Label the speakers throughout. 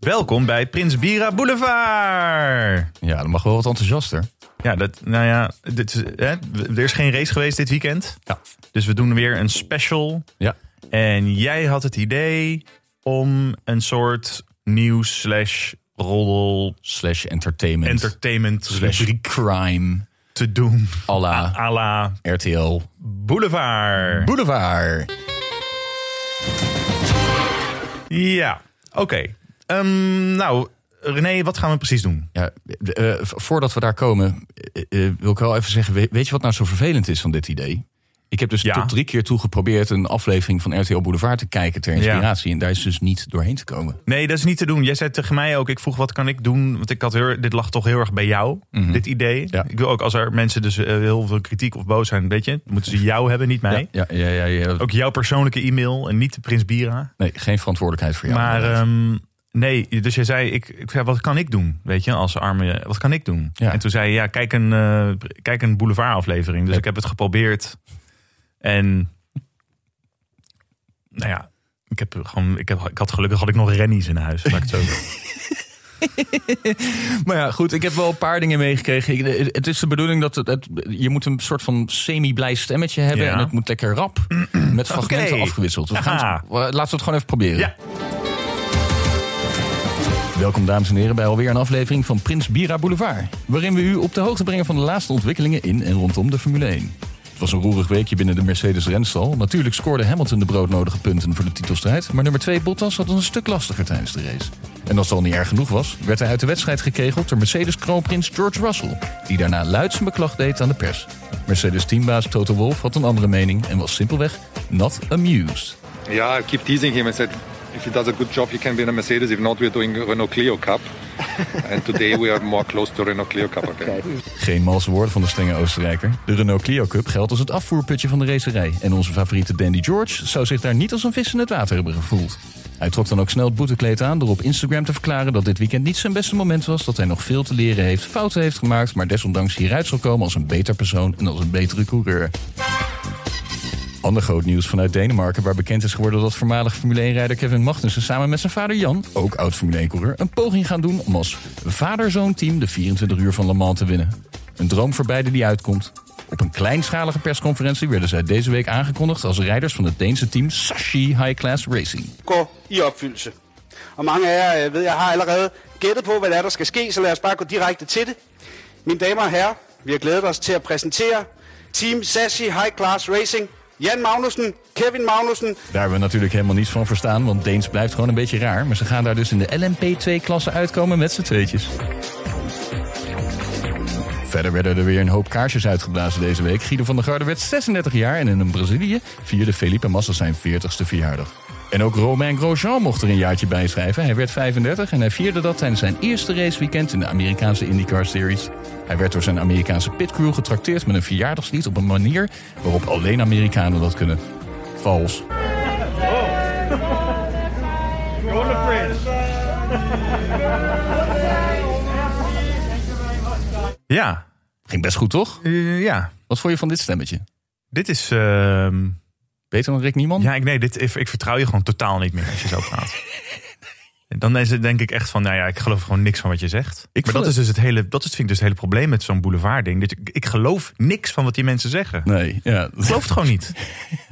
Speaker 1: Welkom bij Prins Bira Boulevard.
Speaker 2: Ja, dan mag wel wat enthousiaster.
Speaker 1: Ja, dat, nou ja, dit, is- hè, w- er is geen race geweest dit weekend.
Speaker 2: Ja.
Speaker 1: Dus we doen weer een special.
Speaker 2: Ja.
Speaker 1: En jij had het idee om een soort nieuws slash roddel
Speaker 2: Slash entertainment.
Speaker 1: entertainment
Speaker 2: slash
Speaker 1: rubriek
Speaker 2: crime.
Speaker 1: te doen.
Speaker 2: A la
Speaker 1: à la
Speaker 2: RTL
Speaker 1: Boulevard.
Speaker 2: Boulevard.
Speaker 1: Ja, oké. Ehm, nou, René, wat gaan we precies doen?
Speaker 2: Ja, eh, eh, voordat we daar komen, eh, eh, wil ik wel even zeggen... we- weet je wat nou zo vervelend is van dit idee? Ik heb dus
Speaker 1: Ja.
Speaker 2: tot drie keer toe geprobeerd een aflevering van RTL Boulevard te kijken ter inspiratie. En daar is dus niet doorheen te komen.
Speaker 1: Nee, dat is niet te doen. Jij zei tegen mij ook, ik vroeg wat kan ik doen? Want ik had heel, dit lag toch heel erg bij jou, dit idee.
Speaker 2: Mhm. Ja.
Speaker 1: Ik wil ook als er mensen dus eh, heel veel kritiek of boos zijn, weet je, moeten ze jou hebben, niet mij.
Speaker 2: Ja, ja, ja, ja.
Speaker 1: Ook jouw persoonlijke e-mail en niet de Prins Bira.
Speaker 2: Nee, geen verantwoordelijkheid voor jou.
Speaker 1: maar
Speaker 2: inderdaad.
Speaker 1: ehm, nee, dus jij zei, ik, ik zei, wat kan ik doen? Weet je, als arme, wat kan ik doen?
Speaker 2: Ja.
Speaker 1: En toen zei je, ja, kijk een, eh, kijk een boulevard aflevering. Dus
Speaker 2: Ja.
Speaker 1: ik heb het geprobeerd. En nou ja, ik, heb gewoon, ik, heb, ik had gelukkig had ik nog rennies in huis. Laat ik het zo zeggen.
Speaker 2: Maar ja, goed, ik heb wel een paar dingen meegekregen. Ik- Het is de bedoeling dat het, het- je moet een soort van semi-blij stemmetje hebben.
Speaker 1: Ja.
Speaker 2: En het moet lekker rap met fragmenten
Speaker 1: Oké.
Speaker 2: afgewisseld. We gaan
Speaker 1: Aha.
Speaker 2: het- we- laten we het gewoon even proberen.
Speaker 1: Ja.
Speaker 2: Welkom dames en heren bij alweer een aflevering van Prins Bira Boulevard. Waarin we u op de hoogte brengen van de laatste ontwikkelingen in en rondom de Formule 1. Het was een roerig weekje binnen de Mercedes-renstal. Natuurlijk scoorde Hamilton de broodnodige punten voor de titelstrijd. Maar nummer 2 Bottas had het een stuk lastiger tijdens de race. En als het al niet erg genoeg was, werd hij uit de wedstrijd gekegeld door Mercedes-kroonprins George Russell. Die daarna luid zijn beklag deed aan de pers. Mercedes-teambaas Toto Wolff had een andere mening en was simpelweg not amused.
Speaker 3: Yeah, I keep teasing him. I said, if he does a good job, he can win a Mercedes. If not, we're doing Renault Clio Cup. and today we are more close to Renault Clio Cup again.
Speaker 2: Geen malse woorden van de strenge Oostenrijker. De Renault Clio Cup geldt als het afvoerputje van de racerij. En onze favoriete Dandy George zou zich daar niet als een vis in het water hebben gevoeld. Hij trok dan ook snel het boetekleed aan door op Instagram te verklaren dat dit weekend niet zijn beste moment was. Dat hij nog veel te leren heeft, fouten heeft gemaakt, maar desondanks hieruit zal komen als een beter persoon en als een betere coureur. Ander groot nieuws vanuit Denemarken, waar bekend is geworden dat voormalig Formule 1-rijder Kevin Magnussen samen met zijn vader Jan, ook oud Formule 1-coureur, een poging gaan doen om als vader-zoon-team de 24 uur van Le Mans te winnen. Een droom voor beiden die uitkomt. Op een kleinschalige persconferentie werden zij deze week aangekondigd als rijders van het Deense team Sashi High Class Racing.
Speaker 4: går i opfyldelse. Og mange af jer, jeg ved, jeg har allerede gættet på, hvad der, er, der skal ske, så lad os bare gå direkte til det. Mine damer og herrer, vi har glædet os til at præsentere Team Sassy High Class Racing. Jan Magnussen, Kevin Magnussen,
Speaker 2: Daar hebben we natuurlijk helemaal niets van verstaan, want Deens blijft gewoon een beetje raar. Maar ze gaan daar dus in de LMP2-klasse uitkomen met z'n tweetjes. Verder werden er weer een hoop kaarsjes uitgeblazen deze week. Guido van der Garde werd 36 jaar en in Brazilië vierde Felipe Massa zijn 40ste verjaardag. En ook Romain Grosjean mocht er een jaartje bij schrijven. Hij werd 35 en hij vierde dat tijdens zijn eerste raceweekend in de Amerikaanse IndyCar Series. Hij werd door zijn Amerikaanse pitcrew getrakteerd met een verjaardagslied op een manier waarop alleen Amerikanen dat kunnen. Vals.
Speaker 1: Ja,
Speaker 2: Ging best goed, toch?
Speaker 1: Eh, ja.
Speaker 2: Wat vond je van dit stemmetje?
Speaker 1: Dit is. ehm,
Speaker 2: Beter dan Rick Nieman?
Speaker 1: ja, ik, nee, dit, ik, ik vertrouw je gewoon totaal niet meer als je zo praat. Dan is het denk ik echt van, nou ja, ik geloof gewoon niks van wat je zegt.
Speaker 2: Ik
Speaker 1: maar dat
Speaker 2: vond het-
Speaker 1: is dus het hele, dat is, vind ik dus het hele probleem met zo'n boulevard ding. Dat ik, ik geloof niks van wat die mensen zeggen.
Speaker 2: Nee, ja.
Speaker 1: Ik geloof het gewoon niet.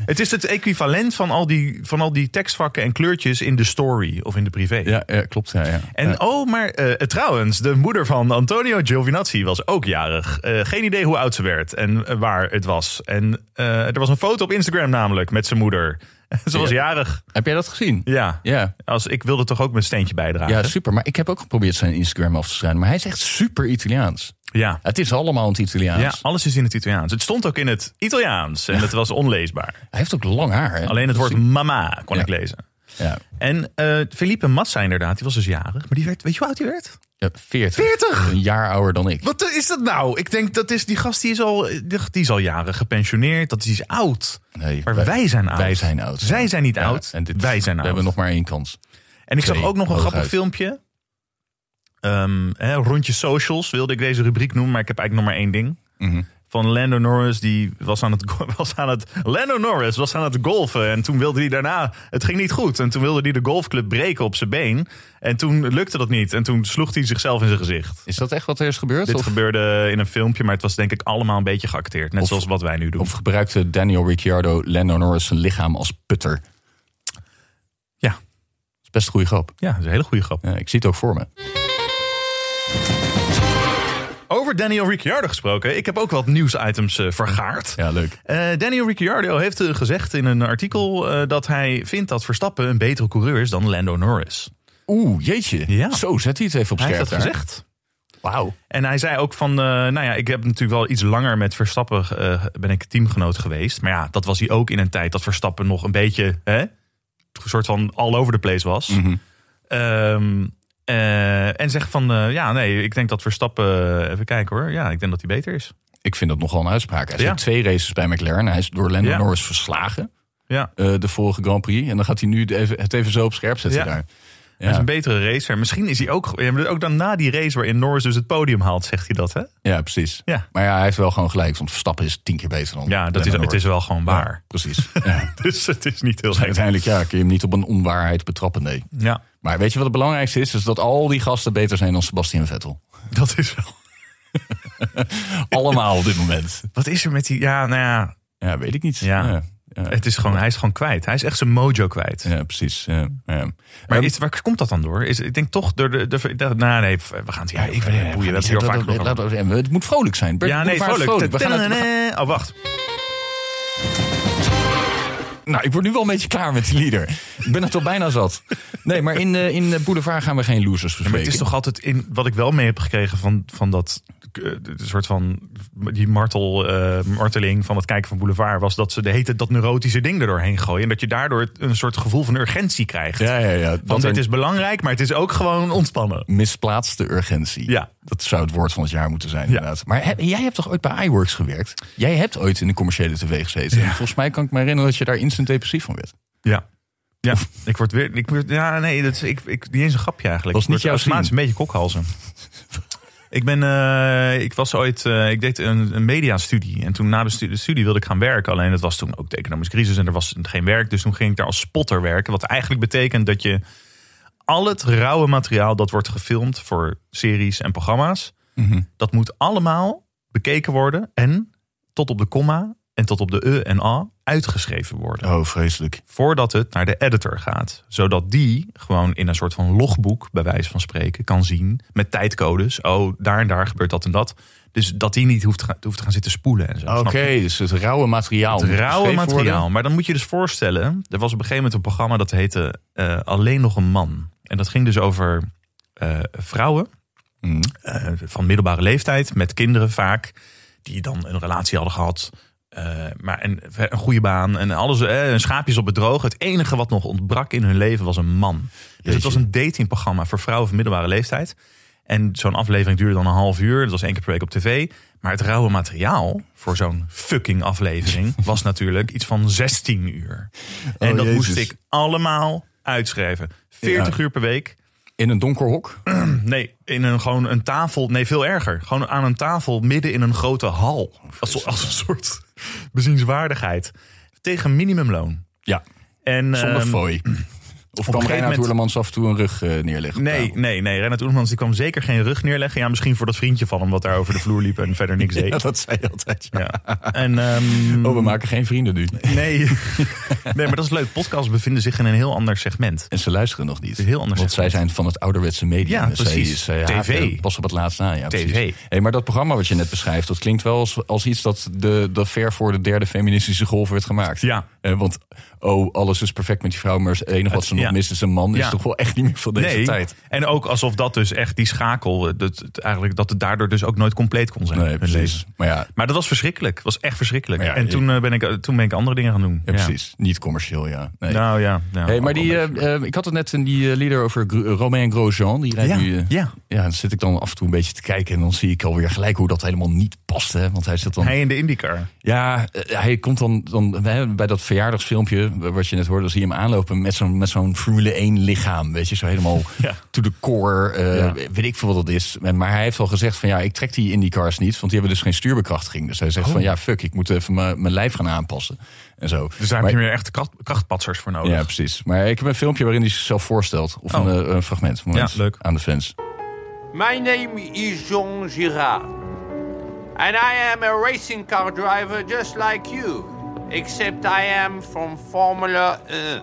Speaker 1: Het is het equivalent van al, die, van al die tekstvakken en kleurtjes in de story of in de privé.
Speaker 2: Ja, ja, klopt. Ja, ja.
Speaker 1: En
Speaker 2: Ja.
Speaker 1: oh, maar eh, trouwens, de moeder van Antonio Giovinazzi was ook jarig. Eh, geen idee hoe oud ze werd en eh, waar het was. En eh, er was een foto op Instagram namelijk met zijn moeder. ze was
Speaker 2: Ja.
Speaker 1: jarig.
Speaker 2: Heb jij dat gezien?
Speaker 1: Ja.
Speaker 2: Ja.
Speaker 1: Als, ik wilde toch ook mijn steentje bijdragen.
Speaker 2: Ja, super. Maar ik heb ook geprobeerd zijn Instagram af te schrijven. Maar hij is echt super Italiaans.
Speaker 1: ja.
Speaker 2: Het is allemaal in het Italiaans.
Speaker 1: Ja, alles is in het Italiaans. Het stond ook in het Italiaans en het was onleesbaar.
Speaker 2: Hij heeft ook lang haar. Hè?
Speaker 1: Alleen het woord mama kon
Speaker 2: Ja.
Speaker 1: ik lezen.
Speaker 2: Ja.
Speaker 1: En eh Felipe Massa inderdaad, die was dus jarig. Maar die werd, weet je hoe oud die werd?
Speaker 2: ja 40.
Speaker 1: 40?
Speaker 2: Een jaar ouder dan ik.
Speaker 1: Wat is dat nou? Ik denk dat is die gast die is al, die die is al jaren gepensioneerd. Dat is, die is oud.
Speaker 2: Nee,
Speaker 1: maar wij, zijn oud.
Speaker 2: Wij zijn oud.
Speaker 1: Zij zijn niet
Speaker 2: Ja,
Speaker 1: oud.
Speaker 2: en dit-
Speaker 1: wij zijn
Speaker 2: We
Speaker 1: oud.
Speaker 2: hebben nog maar één kans.
Speaker 1: en ik zag
Speaker 2: twee,
Speaker 1: ook nog een grappig
Speaker 2: hooguit.
Speaker 1: filmpje.
Speaker 2: Mhm.
Speaker 1: Ehm hè, rondje socials wilde ik deze rubriek noemen, maar ik heb eigenlijk nog maar één ding. van Lando Norris. Die was aan, het, go- was aan het. Lando Norris was aan het golfen. En toen wilde hij daarna. Het ging niet goed. En toen wilde hij de golfclub breken op zijn been. En toen lukte dat niet. En toen sloeg hij zichzelf in zijn gezicht.
Speaker 2: Is dat echt wat er is gebeurd?
Speaker 1: Dit
Speaker 2: of,
Speaker 1: gebeurde in een filmpje, maar het was denk ik allemaal een beetje geacteerd. Net
Speaker 2: Of-
Speaker 1: zoals wat wij nu doen.
Speaker 2: of gebruikte Daniel Ricciardo Lando Norris zijn lichaam als putter? Dat
Speaker 1: ja,
Speaker 2: is best een goede grap.
Speaker 1: ja, dat is een hele goede grap.
Speaker 2: Ja, ik zie het ook voor me.
Speaker 1: Over Daniel Ricciardo gesproken. Ik heb ook wat nieuwsitems eh, vergaard.
Speaker 2: Ja, leuk.
Speaker 1: Eh, Daniel Ricciardo heeft eh, gezegd in een artikel eh, dat hij vindt dat Verstappen een betere coureur is dan Lando Norris.
Speaker 2: Oeh, jeetje.
Speaker 1: Ja.
Speaker 2: Zo, zet hij het even op
Speaker 1: Hij
Speaker 2: scherp
Speaker 1: heeft dat
Speaker 2: daar.
Speaker 1: gezegd.
Speaker 2: Wauw.
Speaker 1: En hij zei ook van, eh, nou ja, ik heb natuurlijk wel iets langer met Verstappen eh, ben ik teamgenoot geweest. Maar ja, dat was hij ook in een tijd dat Verstappen nog een beetje, hè, een soort van all over the place was.
Speaker 2: Mhm.
Speaker 1: Ehm, eh, en zegt van, eh, ja, nee, ik denk dat Verstappen, eh, even kijken hoor, ja, ik denk dat hij beter is.
Speaker 2: Ik vind dat nogal een uitspraak. Hij
Speaker 1: Ja.
Speaker 2: zit twee races bij McLaren. Hij is door Lando
Speaker 1: Ja.
Speaker 2: Norris verslagen.
Speaker 1: Ja.
Speaker 2: eh, de vorige Grand Prix. En dan gaat hij nu de- even, het even zo op scherp zetten
Speaker 1: Ja.
Speaker 2: daar.
Speaker 1: Hij is
Speaker 2: Ja.
Speaker 1: een betere racer. Misschien is hij ook, ja, maar ook dan na die race waarin Norris dus het podium haalt, zegt hij dat, hè?
Speaker 2: Ja, precies.
Speaker 1: Ja.
Speaker 2: Maar ja, hij heeft wel gewoon gelijk. Want Verstappen is tien keer beter dan
Speaker 1: Ja, dat
Speaker 2: Lando
Speaker 1: is, het
Speaker 2: Norris.
Speaker 1: is wel gewoon waar.
Speaker 2: Ja, precies. Ja.
Speaker 1: Dus het is niet heel gek.
Speaker 2: Uiteindelijk ja, kun je hem niet op een onwaarheid betrappen, nee.
Speaker 1: Ja,
Speaker 2: Maar weet je wat het belangrijkste is? Is dat al die gasten beter zijn dan Sebastian Vettel.
Speaker 1: dat is wel.
Speaker 2: Allemaal op dit moment.
Speaker 1: Wat is er met die, ja, nou ja,
Speaker 2: Ja, weet ik niet.
Speaker 1: Ja.
Speaker 2: ja, ja.
Speaker 1: Het is gewoon, hij is gewoon kwijt. Hij is echt zijn mojo kwijt.
Speaker 2: Ja, precies. Ja, ja.
Speaker 1: Maar
Speaker 2: Ehm,
Speaker 1: is, waar komt dat dan door? Is, ik denk toch door de... de, de, nou nee, we gaan het hier... ik ben
Speaker 2: we
Speaker 1: boeien, dat is
Speaker 2: gaan niet
Speaker 1: hier al
Speaker 2: zeggen
Speaker 1: vaak
Speaker 2: dat-
Speaker 1: genoeg
Speaker 2: laten we- en we- Het moet vrolijk zijn. Bert,
Speaker 1: Ja, nee,
Speaker 2: Boulevard is
Speaker 1: vrolijk.
Speaker 2: We gaan het- we gaan-
Speaker 1: Oh, wacht.
Speaker 2: nou, ik word nu wel een beetje klaar met die leader. Ik ben het al bijna zat. Nee, maar in, eh, in eh, Boulevard gaan we geen losers
Speaker 1: Maar
Speaker 2: bespreken.
Speaker 1: het is toch altijd... In, wat ik wel mee heb gekregen van, van dat... eh, de soort van... Die martel, eh, marteling van het kijken van Boulevard... was dat ze de hete, dat neurotische ding er doorheen gooien. En dat je daardoor een soort gevoel van urgentie krijgt.
Speaker 2: Ja, ja, ja.
Speaker 1: Want
Speaker 2: Dat
Speaker 1: het
Speaker 2: er
Speaker 1: is belangrijk, maar het is ook gewoon ontspannen.
Speaker 2: misplaatste urgentie.
Speaker 1: Ja.
Speaker 2: Dat zou het woord van het jaar moeten zijn, inderdaad. Maar heb- jij hebt toch ooit bij iWorks gewerkt? Jij hebt ooit in de commerciële tv gezeten. En Volgens mij kan ik me herinneren dat je daar instant depressief van werd.
Speaker 1: Ja. Ja, ik word weer. Ik word, ja, nee, dat is, ik, ik, niet eens een grapje eigenlijk.
Speaker 2: Was
Speaker 1: Ik word
Speaker 2: niet jouw
Speaker 1: automatisch een
Speaker 2: scene.
Speaker 1: beetje kokhalzen. ik ben. eh, ik was ooit. eh, ik deed een, een mediastudie. En toen na de studie, de studie wilde ik gaan werken. Alleen het was toen ook de economische crisis en er was geen werk. Dus toen ging ik daar als spotter werken. Wat eigenlijk betekent dat je al het rauwe materiaal dat wordt gefilmd voor series en programma's.
Speaker 2: Mhm.
Speaker 1: Dat moet allemaal bekeken worden. En tot op de komma en tot op de e en a uitgeschreven worden
Speaker 2: Oh, vreselijk.
Speaker 1: voordat het naar de editor gaat. Zodat die gewoon in een soort van logboek, bij wijze van spreken, kan zien met tijdcodes. Oh, daar en daar gebeurt dat en dat. Dus dat die niet hoeft, te gaan- hoeft te gaan zitten spoelen en zo.
Speaker 2: Oké,
Speaker 1: Snap je?
Speaker 2: dus het rauwe materiaal.
Speaker 1: Het
Speaker 2: moet
Speaker 1: rauwe
Speaker 2: geschreven
Speaker 1: materiaal.
Speaker 2: worden.
Speaker 1: Maar dan moet je dus voorstellen, er was op een gegeven moment een programma dat heette eh, Alleen nog een man. En dat ging dus over eh, vrouwen
Speaker 2: Mm.
Speaker 1: eh, van middelbare leeftijd, met kinderen vaak, die dan een relatie hadden gehad. eh, maar een, een goede baan en alles, eh, een schaapjes op bedroog. Het enige wat nog ontbrak in hun leven was een man. Dus het was een datingprogramma voor vrouwen van middelbare leeftijd. En zo'n aflevering duurde dan een half uur. Dat was één keer per week op tv. Maar het rauwe materiaal voor zo'n fucking aflevering was natuurlijk iets van 16 uur. En
Speaker 2: Oh,
Speaker 1: dat moest
Speaker 2: Jezus.
Speaker 1: ik allemaal uitschrijven. 40
Speaker 2: Ja.
Speaker 1: uur per week.
Speaker 2: In een donker hok?
Speaker 1: Nee, in een, gewoon een tafel. Nee, veel erger. Gewoon aan een tafel midden in een grote hal. Als, als een soort bezienswaardigheid. Tegen minimumloon.
Speaker 2: Ja.
Speaker 1: En,
Speaker 2: Zonder
Speaker 1: ehm,
Speaker 2: fooi. Of
Speaker 1: gegeven
Speaker 2: kan Reinhard
Speaker 1: moment-
Speaker 2: Oerlemans af en toe een rug eh, neerleggen? op
Speaker 1: Nee,
Speaker 2: tafel?
Speaker 1: nee, nee. Renat Oermans die kwam zeker geen rug neerleggen. Ja, misschien voor dat vriendje van hem wat daar over de vloer liep en verder niks
Speaker 2: Ja,
Speaker 1: deed.
Speaker 2: dat zei je altijd. ja.
Speaker 1: Ja. En, ehm,
Speaker 2: Oh, we maken geen vrienden nu.
Speaker 1: nee. nee, maar dat is leuk. Podcasts bevinden zich in een heel ander segment.
Speaker 2: En ze luisteren nog niet.
Speaker 1: is heel anders
Speaker 2: Want zij zijn van het ouderwetse media.
Speaker 1: Ja,
Speaker 2: Zij
Speaker 1: precies.
Speaker 2: is, eh,
Speaker 1: TV.
Speaker 2: haken Pas op het laatst na. Ja,
Speaker 1: TV.
Speaker 2: precies. Hey, maar dat programma wat je net beschrijft, dat klinkt wel als, als iets dat, de, dat ver voor de derde feministische golf werd gemaakt.
Speaker 1: Ja.
Speaker 2: Eh, want, oh, alles is perfect met die vrouw, maar het enige wat ze
Speaker 1: Het- ja.
Speaker 2: nog mist is een man.
Speaker 1: Ja.
Speaker 2: Is toch wel echt niet meer van deze tijd.
Speaker 1: En ook alsof dat dus echt die schakel, eh, dat, het eigenlijk, dat het daardoor dus ook nooit compleet kon zijn.
Speaker 2: Nee,
Speaker 1: hun
Speaker 2: precies.
Speaker 1: leven.
Speaker 2: Maar ja,
Speaker 1: Maar dat was verschrikkelijk. Het was echt verschrikkelijk.
Speaker 2: Maar ja,
Speaker 1: en toen, eh, ben ik, toen ben ik andere dingen gaan doen.
Speaker 2: ja, precies. Niet commercieel, ja. Nee.
Speaker 1: Nou ja. ja
Speaker 2: Hey, maar
Speaker 1: ook wel
Speaker 2: die,
Speaker 1: een
Speaker 2: eh,
Speaker 1: beetje.
Speaker 2: eh, ik had het net in die eh, leader over Gro- eh, Romain Grosjean. Die rijdt
Speaker 1: Ja,
Speaker 2: nu eh,
Speaker 1: ja.
Speaker 2: ja, dan zit ik dan af en toe een beetje te kijken. En dan zie ik alweer gelijk hoe dat helemaal niet past. Hè? Want hij zit dan.
Speaker 1: Hij in de IndyCar.
Speaker 2: Ja, eh, hij komt dan, dan we hebben bij dat verjaardagsfilmpje, eh, wat je net hoorde, zie je hem aanlopen met zo'n met zo'n Formule 1 lichaam. Weet je, zo helemaal
Speaker 1: Ja.
Speaker 2: to the core. eh,
Speaker 1: Ja.
Speaker 2: Weet ik veel wat dat is. En- Maar hij heeft al gezegd van ja, ik trek die IndyCars niet, want die hebben dus geen stuurbekrachtiging. Dus hij
Speaker 1: Oh.
Speaker 2: zegt van ja, fuck, ik moet even mijn mijn lijf gaan aanpassen. En zo.
Speaker 1: Dus daar
Speaker 2: Maar-
Speaker 1: heb je meer echt kracht, krachtpatsers voor nodig.
Speaker 2: Ja, precies. Maar ik heb een filmpje waarin hij zichzelf voorstelt. Of
Speaker 1: Oh.
Speaker 2: een, eh, een fragment. Moment,
Speaker 1: Ja, leuk.
Speaker 2: Aan de fans.
Speaker 5: My name is Jean Girard, and I am a racing car driver just like you, except I am from Formula 1.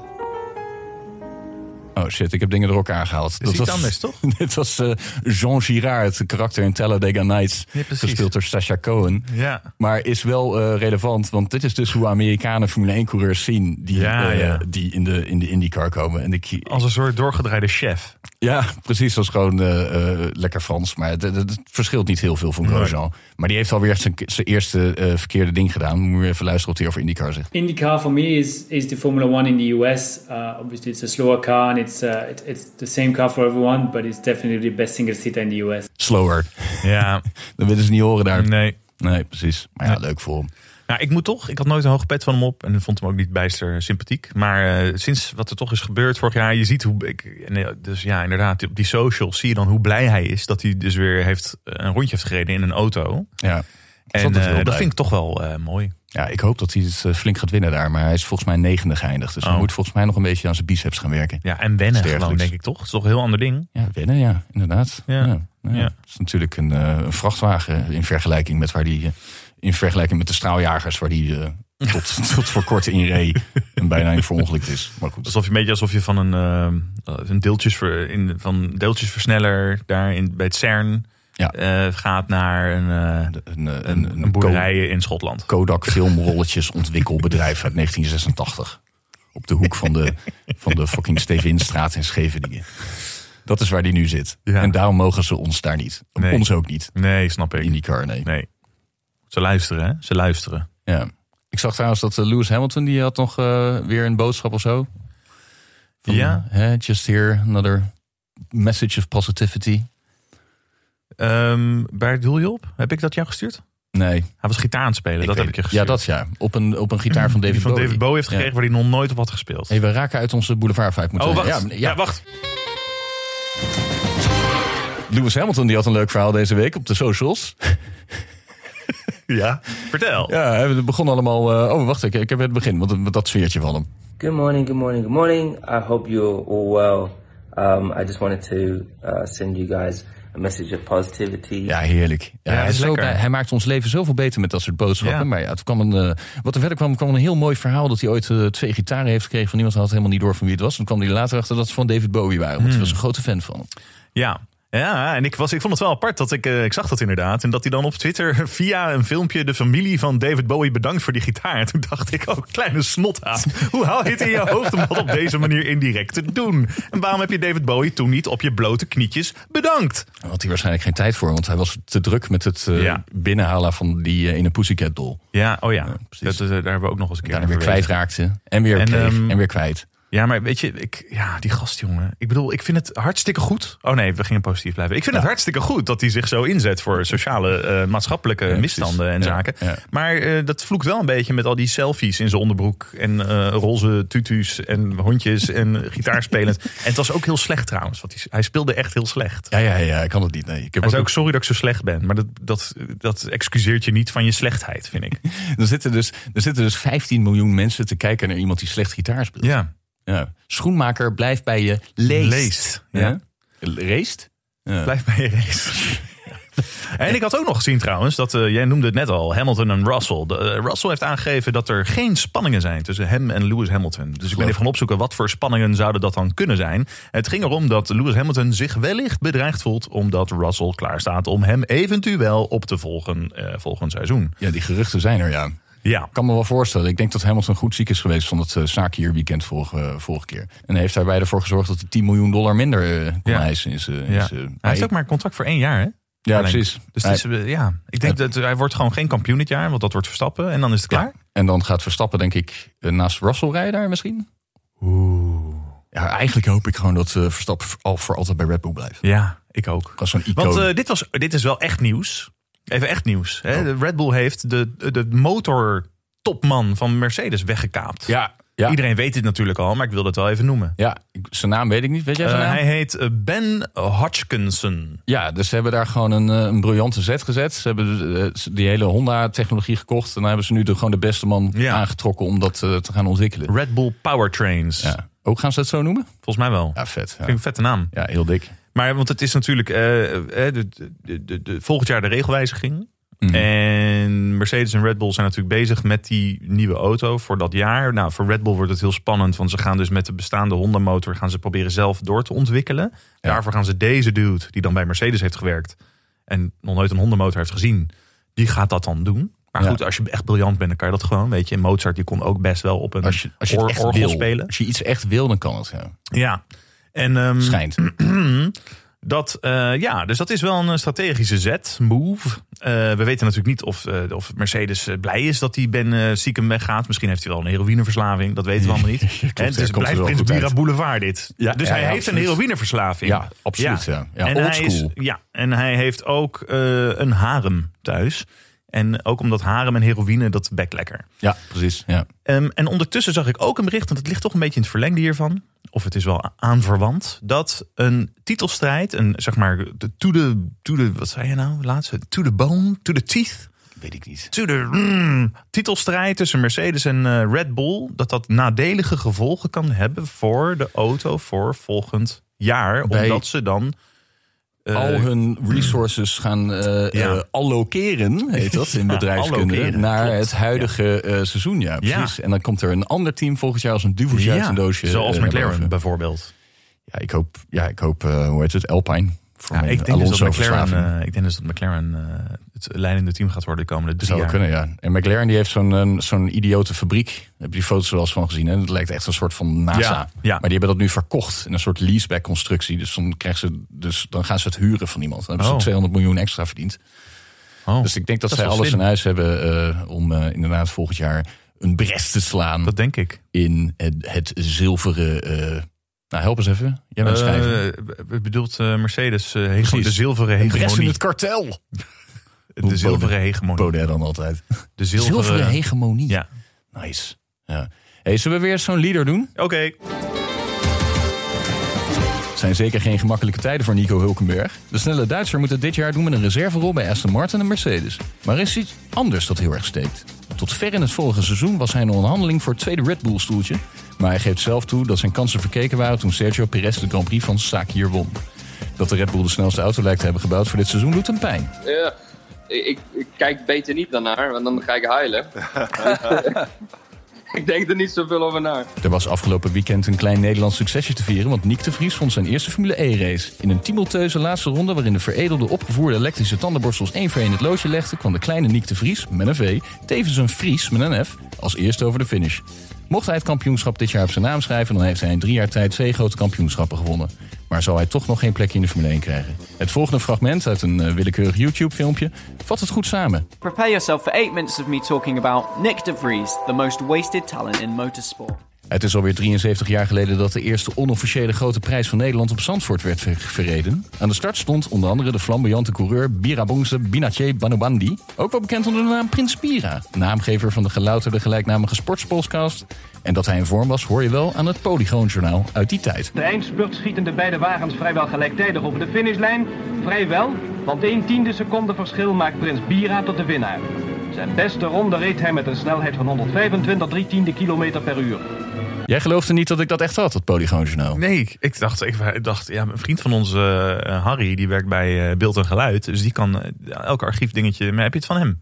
Speaker 2: Oh shit, ik heb dingen door elkaar gehaald.
Speaker 1: Is iets anders, toch?
Speaker 2: Dit was eh, Jean Girard, het karakter in Talladega Nights.
Speaker 1: Ja, precies.
Speaker 2: gespeeld door Sacha Cohen.
Speaker 1: Ja.
Speaker 2: Maar is wel eh, relevant, want dit is dus hoe Amerikanen Formule 1-coureurs zien... die,
Speaker 1: Ja,
Speaker 2: eh,
Speaker 1: ja.
Speaker 2: die in, de, in de IndyCar komen. En ik,
Speaker 1: Als een soort doorgedraaide chef.
Speaker 2: ja, precies. Dat is gewoon eh, eh, lekker Frans. Maar het- het het verschilt niet heel veel van Grosjean. Maar die heeft alweer echt zijn, zijn eerste eh, verkeerde ding gedaan. Moet je even luisteren wat hij over IndyCar zegt.
Speaker 6: IndyCar for me is is the Formula One in the US. Uh, obviously, it's a slower car and it's uh, it, it's the same car for everyone, but it's definitely the best single seater in the US.
Speaker 2: Slower.
Speaker 1: Ja,
Speaker 2: Dat willen ze niet horen daar.
Speaker 1: nee.
Speaker 2: Nee, precies. Maar ja, leuk voor hem.
Speaker 1: Nou, ik moet toch, ik had nooit een hoge pet van hem op en vond hem ook niet bijster sympathiek. Maar eh, sinds wat er toch is gebeurd vorig jaar, je ziet hoe ik. en, eh, Dus ja, inderdaad, op die socials zie je dan hoe blij hij is dat hij dus weer heeft, eh, een rondje heeft gereden in een auto.
Speaker 2: Ja.
Speaker 1: En
Speaker 2: altijd
Speaker 1: eh,
Speaker 2: heel
Speaker 1: dat
Speaker 2: blij.
Speaker 1: vind ik toch wel eh, mooi.
Speaker 2: ja, ik hoop dat hij het eh, flink gaat winnen daar. Maar hij is volgens mij negende geëindigd. Dus hij
Speaker 1: Oh.
Speaker 2: moet volgens mij nog een beetje aan zijn biceps gaan werken.
Speaker 1: Ja, en wennen
Speaker 2: Sterk,
Speaker 1: gewoon,
Speaker 2: Luc.
Speaker 1: denk ik toch? Het is toch een heel ander ding.
Speaker 2: Ja, winnen, ja, inderdaad.
Speaker 1: Ja. Ja.
Speaker 2: Het is natuurlijk een, eh, een vrachtwagen in vergelijking met waar die. eh, in vergelijking met de straaljagers waar die eh, tot, tot voor kort in reed. En bijna in verongelukt is. Maar goed.
Speaker 1: Alsof je een beetje alsof je van een, eh, een deeltjesver, in, van deeltjesversneller daar in, bij het CERN
Speaker 2: Ja.
Speaker 1: eh, gaat naar een, eh,
Speaker 2: Een, eh,
Speaker 1: een, een boerderij in Schotland.
Speaker 2: Kodak filmrolletjes ontwikkelbedrijf uit 1986. Op de hoek van de, van de fucking Stevinstraat in Scheveningen. Dat is waar die nu zit.
Speaker 1: Ja.
Speaker 2: En daarom mogen ze ons daar niet.
Speaker 1: Nee.
Speaker 2: Ons ook niet.
Speaker 1: Nee, snap ik.
Speaker 2: In die car, nee.
Speaker 1: Nee. Ze luisteren, hè? Ze luisteren.
Speaker 2: Ja. Ik zag trouwens dat eh, Lewis Hamilton, die had nog eh, weer een boodschap of zo. Van,
Speaker 1: Ja.
Speaker 2: hè, just here, another message of positivity.
Speaker 1: Ehm waar doel je op? Heb ik dat jou gestuurd?
Speaker 2: Nee.
Speaker 1: Hij was gitaar aan het spelen, dat
Speaker 2: weet
Speaker 1: heb ik je
Speaker 2: het.
Speaker 1: gestuurd.
Speaker 2: Ja, dat ja. Op een, op een gitaar van
Speaker 1: Die
Speaker 2: David
Speaker 1: van
Speaker 2: Bowie.
Speaker 1: David Bowie heeft
Speaker 2: Ja.
Speaker 1: gekregen waar hij nog nooit op had gespeeld.
Speaker 2: Hey, we raken uit onze boulevard moeten
Speaker 1: oh,
Speaker 2: we-
Speaker 1: wacht. Ja,
Speaker 2: Ja, ja.
Speaker 1: wacht.
Speaker 2: Lewis Hamilton die had een leuk verhaal deze week op de socials.
Speaker 1: Ja. Vertel.
Speaker 2: Ja, het begon allemaal. eh, oh, wacht, ik, ik heb het begin, want dat- dat sfeertje van hem.
Speaker 7: Good morning, good morning, good morning. I hope you're all well. Um, I just wanted to uh, send you guys a message of positivity.
Speaker 2: Ja, heerlijk. Ja,
Speaker 1: dat
Speaker 2: hij,
Speaker 1: is
Speaker 2: is zo
Speaker 1: lekker.
Speaker 2: blij. hij maakt ons leven zoveel beter met dat soort boodschappen.
Speaker 1: Ja.
Speaker 2: Maar ja, het kwam een, eh, wat er verder kwam, kwam een heel mooi verhaal dat hij ooit eh, twee gitaren heeft gekregen van iemand. Hij had helemaal niet door van wie het was. Dan kwam hij later achter dat ze van David Bowie waren,
Speaker 1: Hmm.
Speaker 2: want hij was een grote fan van hem.
Speaker 1: Ja. Ja, en ik, was, ik vond het wel apart dat ik, eh, ik zag dat inderdaad. En dat hij dan op Twitter via een filmpje de familie van David Bowie bedankt voor die gitaar. En toen dacht ik, oh, kleine snothaat. Hoe haal je het in je hoofd om dat op deze manier indirect te doen? En waarom heb je David Bowie toen niet op je blote knietjes bedankt?
Speaker 2: Daar had hij waarschijnlijk geen tijd voor, want hij was te druk met het eh,
Speaker 1: Ja.
Speaker 2: binnenhalen van die eh, ene Pussycat Doll.
Speaker 1: Ja, oh ja.
Speaker 2: precies.
Speaker 1: Dat, eh, daar hebben we ook nog eens een keer
Speaker 2: Daarna weer
Speaker 1: over geweest.
Speaker 2: kwijtraakte en weer
Speaker 1: En,
Speaker 2: kreeg
Speaker 1: ehm,
Speaker 2: en weer kwijt.
Speaker 1: Ja, maar weet je, ik, ja, die gast, jongen. Ik bedoel, ik vind het hartstikke goed. Oh nee, we gingen positief blijven. Ik vind het hartstikke goed dat hij zich zo inzet voor sociale, eh, maatschappelijke misstanden en
Speaker 2: Ja,
Speaker 1: zaken.
Speaker 2: ja.
Speaker 1: Maar eh, dat vloekt wel een beetje met al die selfies in zijn onderbroek. En eh, roze tutus en hondjes en gitaarspelend. en het was ook heel slecht trouwens. Want hij, hij speelde echt heel slecht.
Speaker 2: Ja, ja, ja, ik kan het niet. Nee. Ik heb
Speaker 1: Hij
Speaker 2: ook
Speaker 1: zei ook, sorry dat ik zo slecht ben. Maar dat, dat, dat excuseert je niet van je slechtheid, vind ik.
Speaker 2: Er zitten, dus, er zitten dus 15 miljoen mensen te kijken naar iemand die slecht gitaar speelt.
Speaker 1: Ja,
Speaker 2: Ja. Schoenmaker, blijf bij je leest.
Speaker 1: leest.
Speaker 2: Ja.
Speaker 1: ja.
Speaker 2: Reest?
Speaker 1: Blijf bij je race. En ik had ook nog gezien trouwens, dat, eh, jij noemde het net al, Hamilton en Russell. De, eh, Russell heeft aangegeven dat er geen spanningen zijn tussen hem en Lewis Hamilton. Dus ik ben even gaan opzoeken wat voor spanningen zouden dat dan kunnen zijn. Het ging erom dat Lewis Hamilton zich wellicht bedreigd voelt omdat Russell klaarstaat om hem eventueel op te volgen eh, volgend seizoen.
Speaker 2: Ja, die geruchten zijn er, ja.
Speaker 1: Ja,
Speaker 2: Ik kan me wel voorstellen. Ik denk dat Hamilton goed ziek is geweest van het eh, zaakje hier weekend vorige, eh, vorige keer. En hij heeft daarbij ervoor gezorgd dat hij 10 miljoen dollar minder eh, kon
Speaker 1: Ja.
Speaker 2: eisen. Is, eh,
Speaker 1: ja.
Speaker 2: is, eh,
Speaker 1: Dus, hij heeft ook maar een contract voor één jaar hè?
Speaker 2: Ja,
Speaker 1: Verlengd.
Speaker 2: precies.
Speaker 1: Dus
Speaker 2: Hij-
Speaker 1: het is, eh, ja, ik denk dat hij wordt gewoon geen kampioen dit jaar, want dat wordt Verstappen en dan is het klaar.
Speaker 2: En dan gaat Verstappen, denk ik, eh, naast Russell rijden daar misschien? Oeh. Ja, eigenlijk hoop ik gewoon dat eh, Verstappen al voor altijd bij Red Bull blijft.
Speaker 1: Ja, Ik ook.
Speaker 2: Dat is zo'n icoon.
Speaker 1: Want eh, dit, was, dit is wel echt nieuws. Even echt nieuws. Hè?
Speaker 2: Oh.
Speaker 1: De Red Bull heeft de, de motor topman van Mercedes weggekaapt.
Speaker 2: ja, ja,
Speaker 1: Iedereen weet dit natuurlijk al, maar ik wil het wel even noemen.
Speaker 2: ja. Ik- Zijn naam weet ik niet. Weet jij zijn
Speaker 1: Eh,
Speaker 2: naam?
Speaker 1: hij heet eh, Ben Hodgkinson.
Speaker 2: Ja, dus ze hebben daar gewoon een, eh, een briljante zet gezet. Ze hebben eh, die hele Honda-technologie gekocht. En dan hebben ze nu de, gewoon de beste man
Speaker 1: Ja.
Speaker 2: aangetrokken om dat eh, te gaan ontwikkelen.
Speaker 1: Red Bull Powertrains.
Speaker 2: Ja. Ook gaan ze dat zo noemen?
Speaker 1: Volgens mij wel.
Speaker 2: Ja, vet.
Speaker 1: Vind ik
Speaker 2: Ja,
Speaker 1: een vette naam.
Speaker 2: Ja, heel dik.
Speaker 1: Maar want het is natuurlijk eh, eh, de, de, de, de- volgend jaar de regelwijziging.
Speaker 2: Mhm.
Speaker 1: En Mercedes en Red Bull zijn natuurlijk bezig met die nieuwe auto voor dat jaar. Nou, voor Red Bull wordt het heel spannend, want ze gaan dus met de bestaande Honda motor gaan ze proberen zelf door te ontwikkelen. Daarvoor gaan ze deze dude, die dan bij Mercedes heeft gewerkt en nog nooit een Honda motor heeft gezien, die gaat dat dan doen. Maar
Speaker 2: Ja.
Speaker 1: goed, als je echt briljant bent, dan kan je dat gewoon. Weet je, En Mozart die kon ook best wel op een
Speaker 2: Als je, als je het
Speaker 1: or-
Speaker 2: echt
Speaker 1: orgel
Speaker 2: wil.
Speaker 1: spelen.
Speaker 2: Als je iets echt wil, dan kan het. Ja.
Speaker 1: Ja. En ehm,
Speaker 2: Schijnt.
Speaker 1: dat, eh, ja, dus dat is wel een eh, strategische zet, move. Eh, we weten natuurlijk niet of, eh, of Mercedes eh, blij is dat die Ben eh, stiekem weggaat. Misschien heeft hij wel een heroïneverslaving, dat weten we allemaal niet. en het
Speaker 2: daar
Speaker 1: is,
Speaker 2: komt
Speaker 1: blijft
Speaker 2: het wel
Speaker 1: Prins
Speaker 2: goed uit.
Speaker 1: Bira Boulevard dit.
Speaker 2: Ja,
Speaker 1: dus
Speaker 2: ja,
Speaker 1: hij
Speaker 2: ja,
Speaker 1: heeft
Speaker 2: absoluut.
Speaker 1: een heroïneverslaving.
Speaker 2: Ja, absoluut, ja. Ja,
Speaker 1: en
Speaker 2: old
Speaker 1: hij is-
Speaker 2: school.
Speaker 1: ja, en hij heeft ook eh, een harem thuis. En ook omdat harem en heroïne, dat bekt lekker.
Speaker 2: Ja, precies. Ja.
Speaker 1: Ehm, en ondertussen zag ik ook een bericht, en dat ligt toch een beetje in het verlengde hiervan. Of het is wel a- aanverwant. Dat een titelstrijd, een zeg maar, de to the, to the, wat zei je nou laatste? To the bone, to the teeth.
Speaker 2: Weet ik niet.
Speaker 1: To the mm, titelstrijd tussen Mercedes en eh, Red Bull. Dat dat nadelige gevolgen kan hebben voor de auto voor volgend jaar.
Speaker 2: Bij-
Speaker 1: omdat ze dan eh,
Speaker 2: Al hun resources gaan
Speaker 1: Ja.
Speaker 2: eh, eh, allokeren, heet dat in
Speaker 1: Ja,
Speaker 2: bedrijfskunde,
Speaker 1: allokeren,
Speaker 2: naar
Speaker 1: klopt.
Speaker 2: het huidige eh, seizoen. Ja, precies. En dan komt er een ander team volgend jaar als een duveltje uit
Speaker 1: ja,
Speaker 2: een doosje.
Speaker 1: zoals
Speaker 2: eh, naar
Speaker 1: McLaren
Speaker 2: boven.
Speaker 1: bijvoorbeeld.
Speaker 2: Ja, ik hoop, ja, ik hoop eh, hoe heet het, Alpine. Voor
Speaker 1: Ja,
Speaker 2: mijn
Speaker 1: ik, denk dus dat McLaren,
Speaker 2: Alonso-verslaving.
Speaker 1: eh, ik denk dus dat McLaren eh, het leidende team gaat worden de komende drie
Speaker 2: zou wel
Speaker 1: jaar.
Speaker 2: kunnen, ja. En McLaren die heeft zo'n eh, zo'n idiote fabriek. Daar heb je die foto's wel eens van gezien. En het lijkt echt een soort van NASA.
Speaker 1: Ja, ja.
Speaker 2: Maar die hebben dat nu verkocht in een soort leaseback constructie. Dus dan, krijgen ze, dus dan gaan ze het huren van iemand. Dan hebben
Speaker 1: Oh.
Speaker 2: ze 200 miljoen extra verdiend.
Speaker 1: Oh.
Speaker 2: Dus ik denk dat,
Speaker 1: Dat is
Speaker 2: zij
Speaker 1: wel
Speaker 2: alles
Speaker 1: slim.
Speaker 2: in huis hebben eh, om eh, inderdaad volgend jaar een brest te slaan
Speaker 1: Dat denk ik.
Speaker 2: in het, het zilveren. eh, nou, help eens even. Jij bent schrijven.
Speaker 1: Eh, b- bedoelt eh, Mercedes eh, hege-
Speaker 2: Precies.
Speaker 1: de zilveren
Speaker 2: Een brest in
Speaker 1: hegemonie.
Speaker 2: het kartel.
Speaker 1: De zilveren hegemonie.
Speaker 2: Baudet dan altijd.
Speaker 1: De
Speaker 2: Zilveren,
Speaker 1: zilveren
Speaker 2: hegemonie.
Speaker 1: Ja.
Speaker 2: Nice. Ja. Hey, zullen we weer zo'n leader doen?
Speaker 1: Oké.
Speaker 2: Het zijn zeker geen gemakkelijke tijden voor Nico Hulkenberg. De snelle Duitser moet het dit jaar doen met een reserverol bij Aston Martin en Mercedes. Maar er is iets anders dat heel erg steekt. Tot ver in het vorige seizoen was hij in onderhandeling voor het tweede Red Bull stoeltje. Maar hij geeft zelf toe dat zijn kansen verkeken waren toen Sergio Perez de Grand Prix van Sakir won. Dat de Red Bull de snelste auto lijkt te hebben gebouwd voor dit seizoen doet hem pijn.
Speaker 8: Ja, Eh, ik, ik kijk beter niet daarnaar, want dan ga ik huilen. ik denk er niet zoveel over na.
Speaker 2: Er was afgelopen weekend een klein Nederlands succesje te vieren, want Nick de Vries vond zijn eerste Formule E-race. In een tumultueuze laatste ronde waarin de veredelde opgevoerde elektrische tandenborstels één voor één het loodje legden, kwam de kleine Nick de Vries met een V, tevens een Fries met een F, als eerste over de finish. Mocht hij het kampioenschap dit jaar op zijn naam schrijven, dan heeft hij in drie jaar tijd twee grote kampioenschappen gewonnen. Maar zal hij toch nog geen plekje in de Formule 1 krijgen? Het volgende fragment uit een eh, willekeurig YouTube-filmpje vat het goed samen.
Speaker 9: Prepare yourself for eight minutes of me talking about Nick De Vries, the most wasted talent in motorsport.
Speaker 2: Het is alweer 73 jaar geleden dat de eerste onofficiële grote prijs van Nederland op Zandvoort werd ver- verreden. Aan de start stond onder andere de flamboyante coureur Birabongse Binache Banubandi. Ook wel bekend onder de naam Prins Bira, naamgever van de gelouterde gelijknamige sportspodcast. En dat hij in vorm was hoor je wel aan het Polygoonjournaal uit die tijd.
Speaker 10: De eindspurt schieten de beide wagens vrijwel gelijktijdig over de finishlijn. Vrijwel, want 1 tiende seconde verschil maakt Prins Bira tot de winnaar. Zijn beste ronde reed hij met een snelheid van 125 3 tiende kilometer per uur.
Speaker 2: Jij geloofde niet dat ik dat echt had, dat Polygoonjournaal.
Speaker 1: Nee, ik- ik dacht, ik, wa- ik dacht, ja, een vriend van ons, eh, eh, Harry, die werkt bij eh, Beeld en Geluid. Dus die kan eh, elk archiefdingetje. Maar heb je het van hem?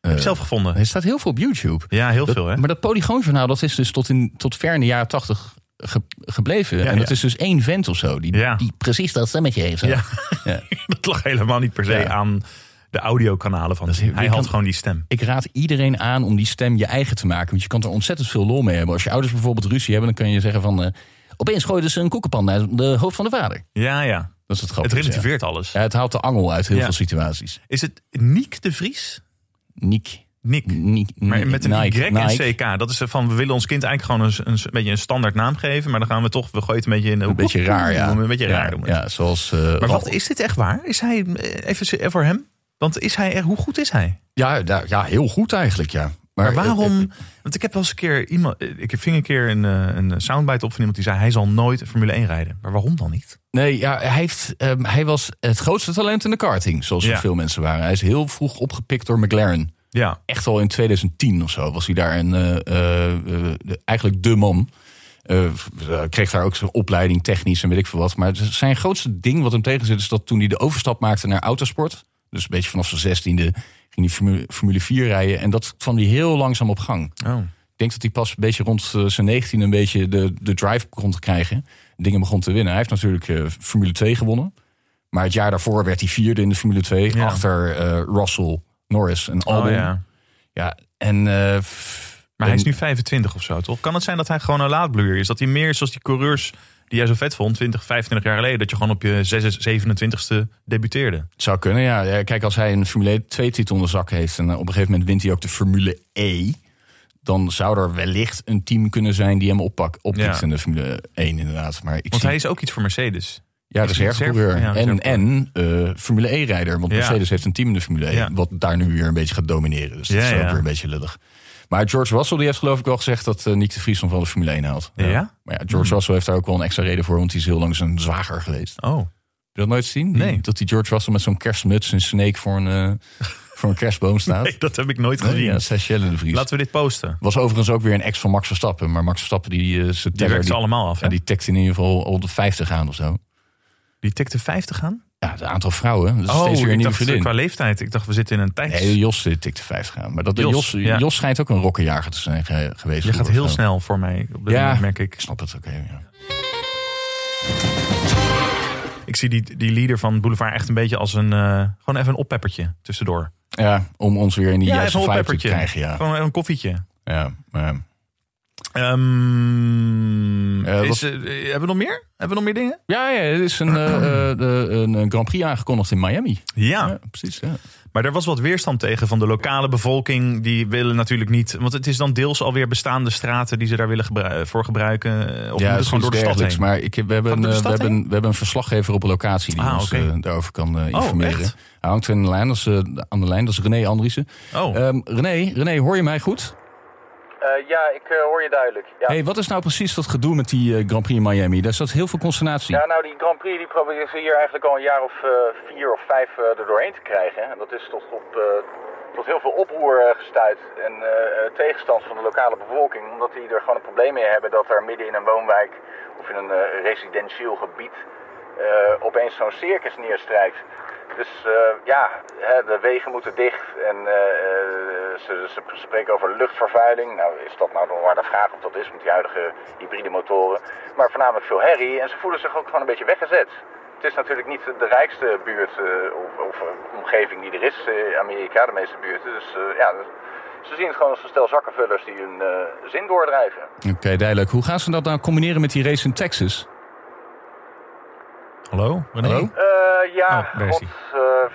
Speaker 1: heb je zelf gevonden?
Speaker 2: Er staat heel veel op YouTube.
Speaker 1: ja, heel
Speaker 2: Eh, Dat-
Speaker 1: veel, hè?
Speaker 2: Maar dat Polygoonjournaal dat is dus tot, in, tot ver in de jaren 80 ge- gebleven. en dat
Speaker 1: ja.
Speaker 2: is dus één vent of zo die,
Speaker 1: Ja.
Speaker 2: die precies dat stemmetje heeft.
Speaker 1: Ja.
Speaker 2: Ja.
Speaker 1: dat lag helemaal niet per se
Speaker 2: Ja.
Speaker 1: aan de audiokanalen van.
Speaker 2: is-
Speaker 1: hem. Hij
Speaker 2: je
Speaker 1: had
Speaker 2: kan-
Speaker 1: gewoon die stem.
Speaker 2: Ik raad iedereen aan om die stem je eigen te maken. Want je kan er ontzettend veel lol mee hebben. Als je ouders bijvoorbeeld ruzie hebben, dan kan je zeggen van... eh, opeens gooiden ze een koekenpan uit de hoofd van de vader.
Speaker 1: Ja, ja.
Speaker 2: Dat is het
Speaker 1: Het
Speaker 2: grappige.
Speaker 1: relativeert alles.
Speaker 2: Ja. Ja, het haalt de angel uit heel
Speaker 1: Ja.
Speaker 2: veel situaties.
Speaker 1: Is het Niek de Vries?
Speaker 2: Niek.
Speaker 1: Nick.
Speaker 2: Ni-
Speaker 1: Maar met een
Speaker 2: Nike,
Speaker 1: Y en
Speaker 2: Nike.
Speaker 1: CK. Dat is eh, van, we willen ons kind eigenlijk gewoon een, een beetje een standaard naam geven. Maar dan gaan we toch, we gooien het een beetje in.
Speaker 2: Een beetje raar, ja.
Speaker 1: Een beetje raar
Speaker 2: Ja,
Speaker 1: doen we het.
Speaker 2: Ja, zoals... eh,
Speaker 1: Maar
Speaker 2: Ralf-
Speaker 1: wat is dit echt waar? Is hij, eh, even voor hem? Want is hij echt, hoe goed is hij?
Speaker 2: Ja, daar- ja, heel goed eigenlijk, ja.
Speaker 1: Maar
Speaker 2: eh,
Speaker 1: waarom? Want ik heb wel eens een keer iemand. eh, Ik ving een keer een, eh, een soundbite op van iemand die zei: hij zal nooit Formule 1 rijden. Maar waarom dan niet?
Speaker 2: Nee, ja, hij, heeft, ehm, hij was het grootste talent in de karting, zoals er
Speaker 1: Ja.
Speaker 2: veel mensen waren. Hij is heel vroeg opgepikt door McLaren.
Speaker 1: Ja,
Speaker 2: Echt al in 2010 of zo was hij daar een, eh, eh, eh, de- eigenlijk de man. Eh, v- eh, kreeg daar ook zijn opleiding technisch en weet ik veel wat. Maar zijn grootste ding wat hem tegenzit is dat toen hij de overstap maakte naar autosport... dus een beetje vanaf zijn zestiende ging hij Formule, Formule 4 rijden... en dat kwam hij heel langzaam op gang.
Speaker 1: oh.
Speaker 2: Ik denk dat hij pas een beetje rond eh, zijn 19 een beetje de, de drive kon te krijgen. Dingen begon te winnen. Hij heeft natuurlijk eh, Formule 2 gewonnen. Maar het jaar daarvoor werd hij vierde in de Formule 2.
Speaker 1: Ja.
Speaker 2: Achter eh, Russell, Norris en Albon.
Speaker 1: Oh,
Speaker 2: ja.
Speaker 1: ja.
Speaker 2: en... eh,
Speaker 1: Maar hij is
Speaker 2: en-
Speaker 1: nu 25 of zo, toch? Kan het zijn dat hij gewoon een laadbloeier is? Dat hij meer is zoals die coureurs die jij zo vet vond, 20, 25 jaar geleden, dat je gewoon op je 6, 27ste debuteerde.
Speaker 2: Het zou kunnen, ja. ja. Kijk, als hij een Formule 2-titel in de zak heeft... en eh, op een gegeven moment wint hij ook de Formule E... dan zou er wellicht een team kunnen zijn die hem oppak, oppikt
Speaker 1: Ja.
Speaker 2: in de Formule 1 inderdaad. Maar ik
Speaker 1: Want
Speaker 2: zie-
Speaker 1: hij is ook iets voor Mercedes.
Speaker 2: Ja, dat is
Speaker 1: Is het
Speaker 2: herfcoureur.
Speaker 1: Serv- ja,
Speaker 2: en
Speaker 1: Serv-
Speaker 2: en eh, Formule 1-rijder. Want
Speaker 1: Ja.
Speaker 2: Mercedes heeft een team in de Formule 1.
Speaker 1: Ja.
Speaker 2: Wat daar nu weer een beetje gaat domineren. Dus dat
Speaker 1: Ja,
Speaker 2: is ook
Speaker 1: ja.
Speaker 2: weer een beetje lullig. Maar George Russell die heeft geloof ik wel gezegd dat eh Nick de Vries hem van de Formule 1 haalt.
Speaker 1: Ja? Hmm.
Speaker 2: Maar ja, George Russell heeft daar ook wel een extra reden voor. Want die is heel lang zijn zwager geweest. Heb
Speaker 1: Oh,
Speaker 2: je dat nooit zien?
Speaker 1: Nee.
Speaker 2: Dat die George Russell met zo'n kerstmuts en snake voor een, eh, voor een kerstboom staat.
Speaker 1: nee, dat heb ik nooit
Speaker 2: Nee,
Speaker 1: gezien.
Speaker 2: ja, Seychelles de Vries.
Speaker 1: Laten we dit posten.
Speaker 2: Was overigens ook weer een ex van Max Verstappen. Maar Max Verstappen die eh, zijn
Speaker 1: Die
Speaker 2: teller,
Speaker 1: werkt ze allemaal af.
Speaker 2: ja,
Speaker 1: hè? die,
Speaker 2: die tikt in ieder geval al de 50 aan of zo.
Speaker 1: tikte 50 aan?
Speaker 2: Ja, het aantal vrouwen. Dat is
Speaker 1: Oh,
Speaker 2: steeds weer een
Speaker 1: ik
Speaker 2: nieuwe
Speaker 1: dacht
Speaker 2: vriendin.
Speaker 1: qua leeftijd. Ik dacht, we zitten in een tijd.
Speaker 2: Nee, Jos eh, tikte 50 aan. Maar dat, Jos,
Speaker 1: Jos,
Speaker 2: Jos,
Speaker 1: ja.
Speaker 2: schijnt ook een rokkenjager te zijn ge- geweest.
Speaker 1: je gaat
Speaker 2: vroeger
Speaker 1: heel
Speaker 2: of zo.
Speaker 1: snel voor mij. Op dit
Speaker 2: Ja.
Speaker 1: moment merk ik.
Speaker 2: Ik snap het, oké. ja.
Speaker 1: Ik zie die, die leader van Boulevard echt een beetje als een. eh, gewoon even een oppeppertje tussendoor.
Speaker 2: ja, om ons weer in die juiste
Speaker 1: even
Speaker 2: vibe te krijgen. Ja,
Speaker 1: Gewoon even een koffietje.
Speaker 2: ja maar,
Speaker 1: Ehm,
Speaker 2: Eh,
Speaker 1: is,
Speaker 2: wat-
Speaker 1: eh, hebben we nog meer? Hebben we nog meer dingen?
Speaker 2: ja, ja, er is een, eh, eh, de- een eh, Grand Prix aangekondigd in Miami.
Speaker 1: Ja.
Speaker 2: Ja, precies. Ja.
Speaker 1: maar er was wat weerstand tegen van de lokale bevolking. Die willen natuurlijk niet, want het is dan deels alweer bestaande straten die ze daar willen gebru- voor gebruiken. eh, Of moet
Speaker 2: ja,
Speaker 1: het gewoon door de
Speaker 2: zoiets
Speaker 1: stad
Speaker 2: dergelijks.
Speaker 1: heen?
Speaker 2: Maar ik, heb- we, hebben,
Speaker 1: Gaat het door de
Speaker 2: eh, we,
Speaker 1: stad
Speaker 2: hebben, een- we hebben een verslaggever op de locatie die
Speaker 1: Ah,
Speaker 2: ons
Speaker 1: oké. Oh,
Speaker 2: eh, daarover kan eh, informeren.
Speaker 1: echt?
Speaker 2: Hij hangt aan de lijn, dat is, eh, aan de lijn, dat is René Andriessen.
Speaker 1: Oh,
Speaker 2: Ehm, René, René, hoor je mij goed?
Speaker 10: Eh, ja, ik hoor je duidelijk. Ja.
Speaker 2: hey, wat is nou precies dat gedoe met die eh, Grand Prix in Miami? Daar zat heel veel consternatie.
Speaker 10: Ja, nou, die Grand Prix die proberen ze hier eigenlijk al een jaar of eh, vier of vijf eh, er doorheen te krijgen. En dat is tot, op, eh, tot heel veel oproer eh, gestuit en eh, eh, tegenstand van de lokale bevolking. Omdat die er gewoon een probleem mee hebben dat er midden in een woonwijk of in een eh, residentieel gebied eh, opeens zo'n circus neerstrijkt. Dus eh, ja, hè, de wegen moeten dicht en eh, eh, ze, ze spreken over luchtvervuiling. Nou, is dat nou nog maar de vraag of dat is met die huidige hybride motoren. Maar voornamelijk veel herrie en ze voelen zich ook gewoon een beetje weggezet. Het is natuurlijk niet de rijkste buurt eh, of, of eh, omgeving die er is in Amerika, de meeste buurten. Dus eh, ja, ze zien het gewoon als een stel zakkenvullers die hun eh, zin doordrijven.
Speaker 2: Oké, duidelijk. Hoe gaan ze dat nou combineren met die race in Texas?
Speaker 1: hallo? René?
Speaker 2: Hallo?
Speaker 10: Eh, ja,
Speaker 1: Oh, daar is
Speaker 10: god, eh,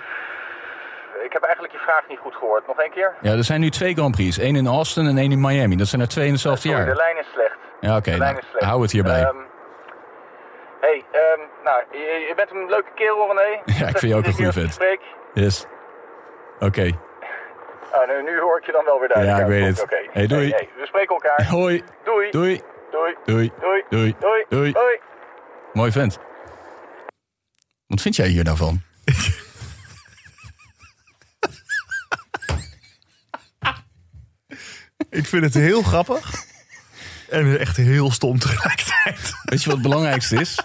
Speaker 10: ik heb eigenlijk je vraag niet goed gehoord. Nog één keer?
Speaker 2: Ja, er zijn nu twee Grand Prix. Eén in Austin en één in Miami. Dat zijn er twee in hetzelfde
Speaker 10: Sorry,
Speaker 2: jaar.
Speaker 10: de lijn is slecht.
Speaker 2: Ja, oké.
Speaker 10: de lijn
Speaker 2: nou,
Speaker 10: is slecht.
Speaker 2: hou het hierbij.
Speaker 10: Ehm, hey, ehm, nou, je, je bent een leuke kerel, René.
Speaker 2: Ja, ik vind je ook een goede vent.
Speaker 10: Spreek.
Speaker 2: Yes. Oké.
Speaker 10: Ah, nu, nu hoor ik je dan wel weer duidelijk.
Speaker 2: Ja, ik weet
Speaker 10: goed,
Speaker 2: het.
Speaker 10: oké.
Speaker 2: Hey, doei.
Speaker 10: Hey, hey, we spreken elkaar.
Speaker 2: Hoi.
Speaker 10: Doei.
Speaker 2: Doei.
Speaker 10: Doei.
Speaker 2: Doei.
Speaker 10: Doei.
Speaker 2: Doei.
Speaker 10: Doei.
Speaker 2: Doei.
Speaker 10: Doei.
Speaker 2: Mooi vent. Wat vind jij hier nou van?
Speaker 1: Ik vind het heel grappig. En echt heel stom tegelijkertijd.
Speaker 2: Weet je wat het belangrijkste is?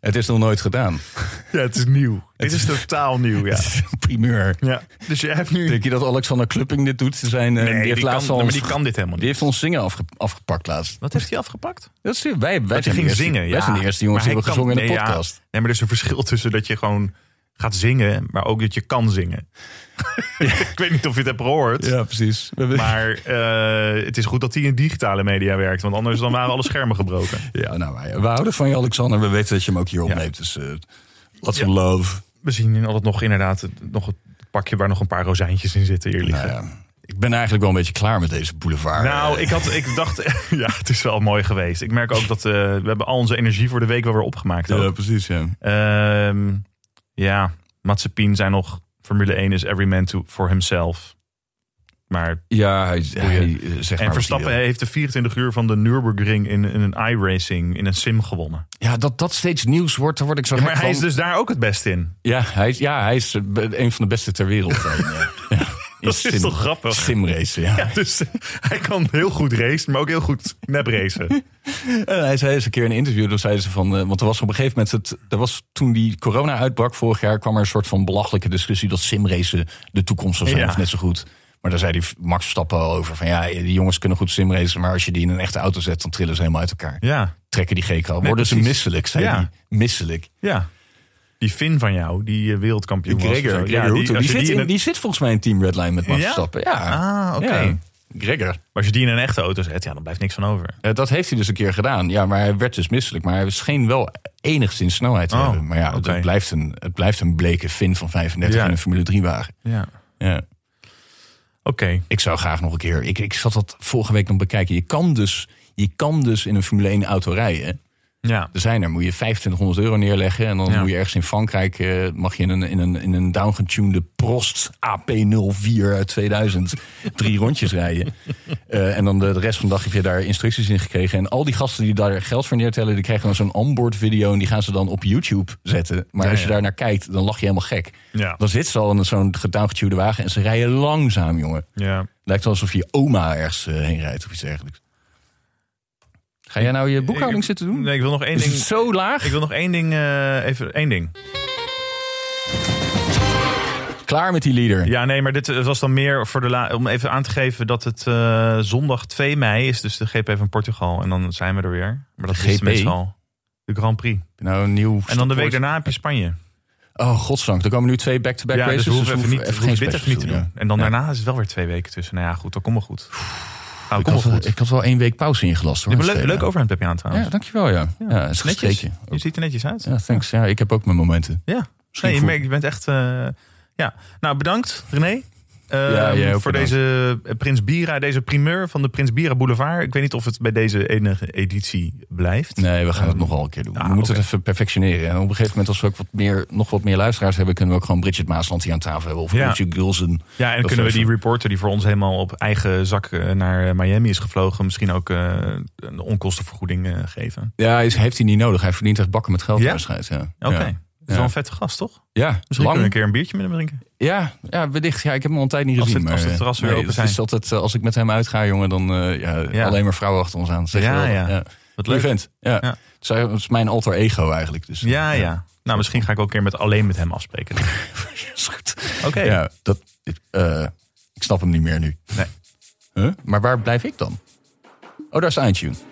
Speaker 2: Het is nog nooit gedaan.
Speaker 1: Ja, het is nieuw. Dit is totaal nieuw, ja.
Speaker 2: Het is een primeur.
Speaker 1: ja. Dus je hebt nu...
Speaker 2: Denk je dat Alexander Klupping dit doet? Ze Zijn, eh,
Speaker 1: Nee,
Speaker 2: die, heeft
Speaker 1: die
Speaker 2: laatst
Speaker 1: kan-
Speaker 2: al
Speaker 1: maar
Speaker 2: ons,
Speaker 1: die kan dit helemaal niet.
Speaker 2: die heeft ons zingen afge- afgepakt laatst.
Speaker 1: Wat heeft hij afgepakt?
Speaker 2: Dat is, wij wij zijn
Speaker 1: Dat hij
Speaker 2: de
Speaker 1: ging
Speaker 2: eerste-
Speaker 1: zingen.
Speaker 2: Wij
Speaker 1: ja.
Speaker 2: zijn de eerste jongens die
Speaker 1: Maar hij
Speaker 2: hebben gezongen
Speaker 1: kan-
Speaker 2: in de
Speaker 1: nee, ja.
Speaker 2: podcast.
Speaker 1: Nee, maar er is een verschil tussen dat je gewoon gaat zingen, maar ook dat je kan zingen. Ik weet niet of je het hebt gehoord.
Speaker 2: Ja, precies. We hebben-
Speaker 1: Maar eh, het is goed dat hij in digitale media werkt, want anders dan waren alle schermen gebroken.
Speaker 2: ja, nou, wij- we houden van je, Alexander. We weten dat je hem ook hier opneemt. Dus eh lots of love.
Speaker 1: We zien altijd nog inderdaad het- nog het pakje waar nog een paar rozijntjes in zitten hier liggen.
Speaker 2: Nou ja. Ik ben eigenlijk wel een beetje klaar met deze boulevard.
Speaker 1: Nou,
Speaker 2: Eh,
Speaker 1: ik, had, ik dacht, ja, het is wel mooi geweest. Ik merk ook dat eh, we hebben al onze energie voor de week wel weer opgemaakt.
Speaker 2: Ja,
Speaker 1: ook.
Speaker 2: precies, ja.
Speaker 1: Ehm, ja, Mazepin zijn nog. Formule 1 is every man to, for himself. Maar,
Speaker 2: Ja, hij, hij eh, zegt maar
Speaker 1: en
Speaker 2: wat
Speaker 1: Verstappen
Speaker 2: hij wil.
Speaker 1: heeft de 24 uur van de Nürburgring in, in een iRacing, in een sim gewonnen.
Speaker 2: Ja, dat dat steeds nieuws wordt, daar word ik zo
Speaker 1: Ja,
Speaker 2: gek
Speaker 1: maar hij
Speaker 2: van.
Speaker 1: is dus daar ook het best in.
Speaker 2: ja, hij is, ja, hij is eh, be- een van de beste ter wereld. daarin, ja. Ja, in
Speaker 1: Dat is
Speaker 2: sim-
Speaker 1: toch grappig?
Speaker 2: Simracen, ja.
Speaker 1: Ja, dus hij kan heel goed racen, maar ook heel goed nep racen.
Speaker 2: En Eh, hij zei eens een keer in een interview, dan zeiden ze van, eh, want er was op een gegeven moment, het, er was, toen die corona uitbrak vorig jaar, kwam er een soort van belachelijke discussie dat simracen de toekomst zou zijn,
Speaker 1: Ja.
Speaker 2: of net zo goed. Maar daar zei die Max Verstappen al over van, ja, die jongens kunnen goed simracen, maar als je die in een echte auto zet, dan trillen ze helemaal uit elkaar.
Speaker 1: Ja,
Speaker 2: Trekken die GK, worden ze
Speaker 1: precies.
Speaker 2: misselijk, zei
Speaker 1: Ja.
Speaker 2: die. Misselijk.
Speaker 1: ja. Die Finn van jou, die eh, wereldkampioen was. of
Speaker 2: Gregor,
Speaker 1: zo.
Speaker 2: Gregor
Speaker 1: ja,
Speaker 2: Hutto,
Speaker 1: als
Speaker 2: eh, die,
Speaker 1: je
Speaker 2: zit
Speaker 1: in
Speaker 2: in-
Speaker 1: een-
Speaker 2: die zit volgens mij in Team Redline met Max
Speaker 1: Ja?
Speaker 2: Verstappen. Ja.
Speaker 1: Ah, oké.
Speaker 2: Ja. Gregor.
Speaker 1: Als je die in een echte auto zet, ja, dan blijft niks van over.
Speaker 2: Eh, dat heeft hij dus een keer gedaan. Ja, maar hij werd dus misselijk. Maar hij scheen wel enigszins snelheid te
Speaker 1: Oh,
Speaker 2: hebben. Maar ja, het-
Speaker 1: oké.
Speaker 2: het, blijft een, het blijft een bleke fin van 35
Speaker 1: Ja.
Speaker 2: in een Formule 3 wagen.
Speaker 1: Ja. Oké.
Speaker 2: Ja. Ik zou graag nog een keer... Ik, ik zat dat vorige week nog bekijken. Je kan dus, je kan dus in een Formule 1 auto rijden.
Speaker 1: Ja.
Speaker 2: Er zijn er, moet je 2500 euro neerleggen. En dan
Speaker 1: Ja.
Speaker 2: moet je ergens in Frankrijk... eh, mag je in een, in een, in een downgetunede Prost AP04 uit 2000 drie rondjes rijden. Eh, en dan de, de rest van de dag heb je daar instructies in gekregen. En al die gasten die daar geld voor neertellen... die krijgen dan zo'n onboard video en die gaan ze dan op YouTube zetten. Maar
Speaker 1: Ja,
Speaker 2: als je
Speaker 1: ja.
Speaker 2: daar naar kijkt, dan lach je helemaal gek.
Speaker 1: Ja.
Speaker 2: Dan zit ze al in zo'n gedowngetunede wagen en ze rijden langzaam, jongen.
Speaker 1: ja.
Speaker 2: Lijkt wel alsof je oma ergens eh, heen rijdt of iets dergelijks. Ga jij nou je boekhouding
Speaker 1: Ik-
Speaker 2: zitten doen?
Speaker 1: Nee, ik wil nog één
Speaker 2: Is het
Speaker 1: ding.
Speaker 2: zo laag?
Speaker 1: Ik wil nog één ding. eh, even één ding.
Speaker 2: Klaar met die leader.
Speaker 1: Ja, nee, maar dit eh, was dan meer voor de la- om even aan te geven dat het eh, zondag 2 mei is, dus de GP van Portugal. En dan zijn we er weer. Maar dat
Speaker 2: De
Speaker 1: is
Speaker 2: GP?
Speaker 1: meestal al. De Grand Prix.
Speaker 2: Nou, een nieuw
Speaker 1: En dan de week
Speaker 2: stopwoord.
Speaker 1: daarna heb je Spanje.
Speaker 2: Oh, godzang. Er komen nu twee back-to-back
Speaker 1: Ja, dus
Speaker 2: races.
Speaker 1: we hoeven
Speaker 2: we
Speaker 1: even niet,
Speaker 2: hoeven
Speaker 1: even
Speaker 2: geen
Speaker 1: bitter
Speaker 2: specials
Speaker 1: niet te
Speaker 2: ja.
Speaker 1: doen. En dan
Speaker 2: Ja.
Speaker 1: daarna is het wel weer twee weken tussen. Nou ja, goed, dan kom maar goed. Nou,
Speaker 2: Ik
Speaker 1: kom maar
Speaker 2: had,
Speaker 1: goed.
Speaker 2: wel- ik had wel één week pauze ingelast. Hoor,
Speaker 1: Je hebt een leuk,
Speaker 2: Het
Speaker 1: leuk
Speaker 2: schelen.
Speaker 1: overhemd heb je aan trouwens.
Speaker 2: Ja, dankjewel. Ja, ja. het is
Speaker 1: netjes.
Speaker 2: gestreken.
Speaker 1: Je ziet er netjes uit.
Speaker 2: Ja, thanks. Ja, ik heb ook mijn momenten.
Speaker 1: Ja,
Speaker 2: Misschien
Speaker 1: nee, je,
Speaker 2: voor-
Speaker 1: merkt- je bent echt. eh, ja, nou bedankt René. Ehm,
Speaker 2: Ja, jij ook
Speaker 1: voor
Speaker 2: bedankt.
Speaker 1: deze eh, Prins Bira, deze primeur van de Prins Bira Boulevard. Ik weet niet of het bij deze enige editie blijft.
Speaker 2: Nee, we gaan het nogal een keer doen.
Speaker 1: ah,
Speaker 2: we moeten
Speaker 1: oké.
Speaker 2: het even perfectioneren. En op een gegeven moment, als we ook wat meer, nog wat meer luisteraars hebben... kunnen we ook gewoon Bridget Maasland hier aan tafel hebben. Of
Speaker 1: Ja.
Speaker 2: Richard Gulsen.
Speaker 1: Ja, en dan
Speaker 2: Dat
Speaker 1: kunnen we
Speaker 2: even-
Speaker 1: die reporter die voor ons helemaal op eigen zak eh, naar eh, Miami is gevlogen, misschien ook eh, een onkostenvergoeding eh, geven.
Speaker 2: Ja, is, heeft hij niet nodig. Hij verdient echt bakken met geld.
Speaker 1: Ja?
Speaker 2: Ja? Ja.
Speaker 1: Oké,
Speaker 2: Ja.
Speaker 1: dat is wel een vette gast, toch? Misschien
Speaker 2: Ja,
Speaker 1: kunnen we
Speaker 2: lang.
Speaker 1: een keer een biertje met hem drinken.
Speaker 2: Ja, ja, wellicht. Ja, ik heb hem al een tijd niet
Speaker 1: Als
Speaker 2: gezien.
Speaker 1: het-
Speaker 2: maar,
Speaker 1: als het
Speaker 2: eh,
Speaker 1: terras weer
Speaker 2: nee,
Speaker 1: open
Speaker 2: het
Speaker 1: zijn.
Speaker 2: is altijd, eh, als ik met hem uitga, jongen, dan eh, ja,
Speaker 1: Ja.
Speaker 2: alleen maar vrouwen achter ons aan. Zeg
Speaker 1: Ja,
Speaker 2: wel.
Speaker 1: ja. Wat
Speaker 2: Leuk
Speaker 1: leuk.
Speaker 2: vent. Ja.
Speaker 1: Ja.
Speaker 2: Het is eigenlijk- Het is mijn alter ego eigenlijk. Dus,
Speaker 1: Ja, ja. Nou, misschien ga ik ook een keer met, alleen met hem afspreken.
Speaker 2: Is goed.
Speaker 1: Oké.
Speaker 2: Ja, dat, eh, ik snap hem niet meer nu.
Speaker 1: Nee.
Speaker 2: Huh? Maar waar blijf ik dan? Oh, daar is iTunes.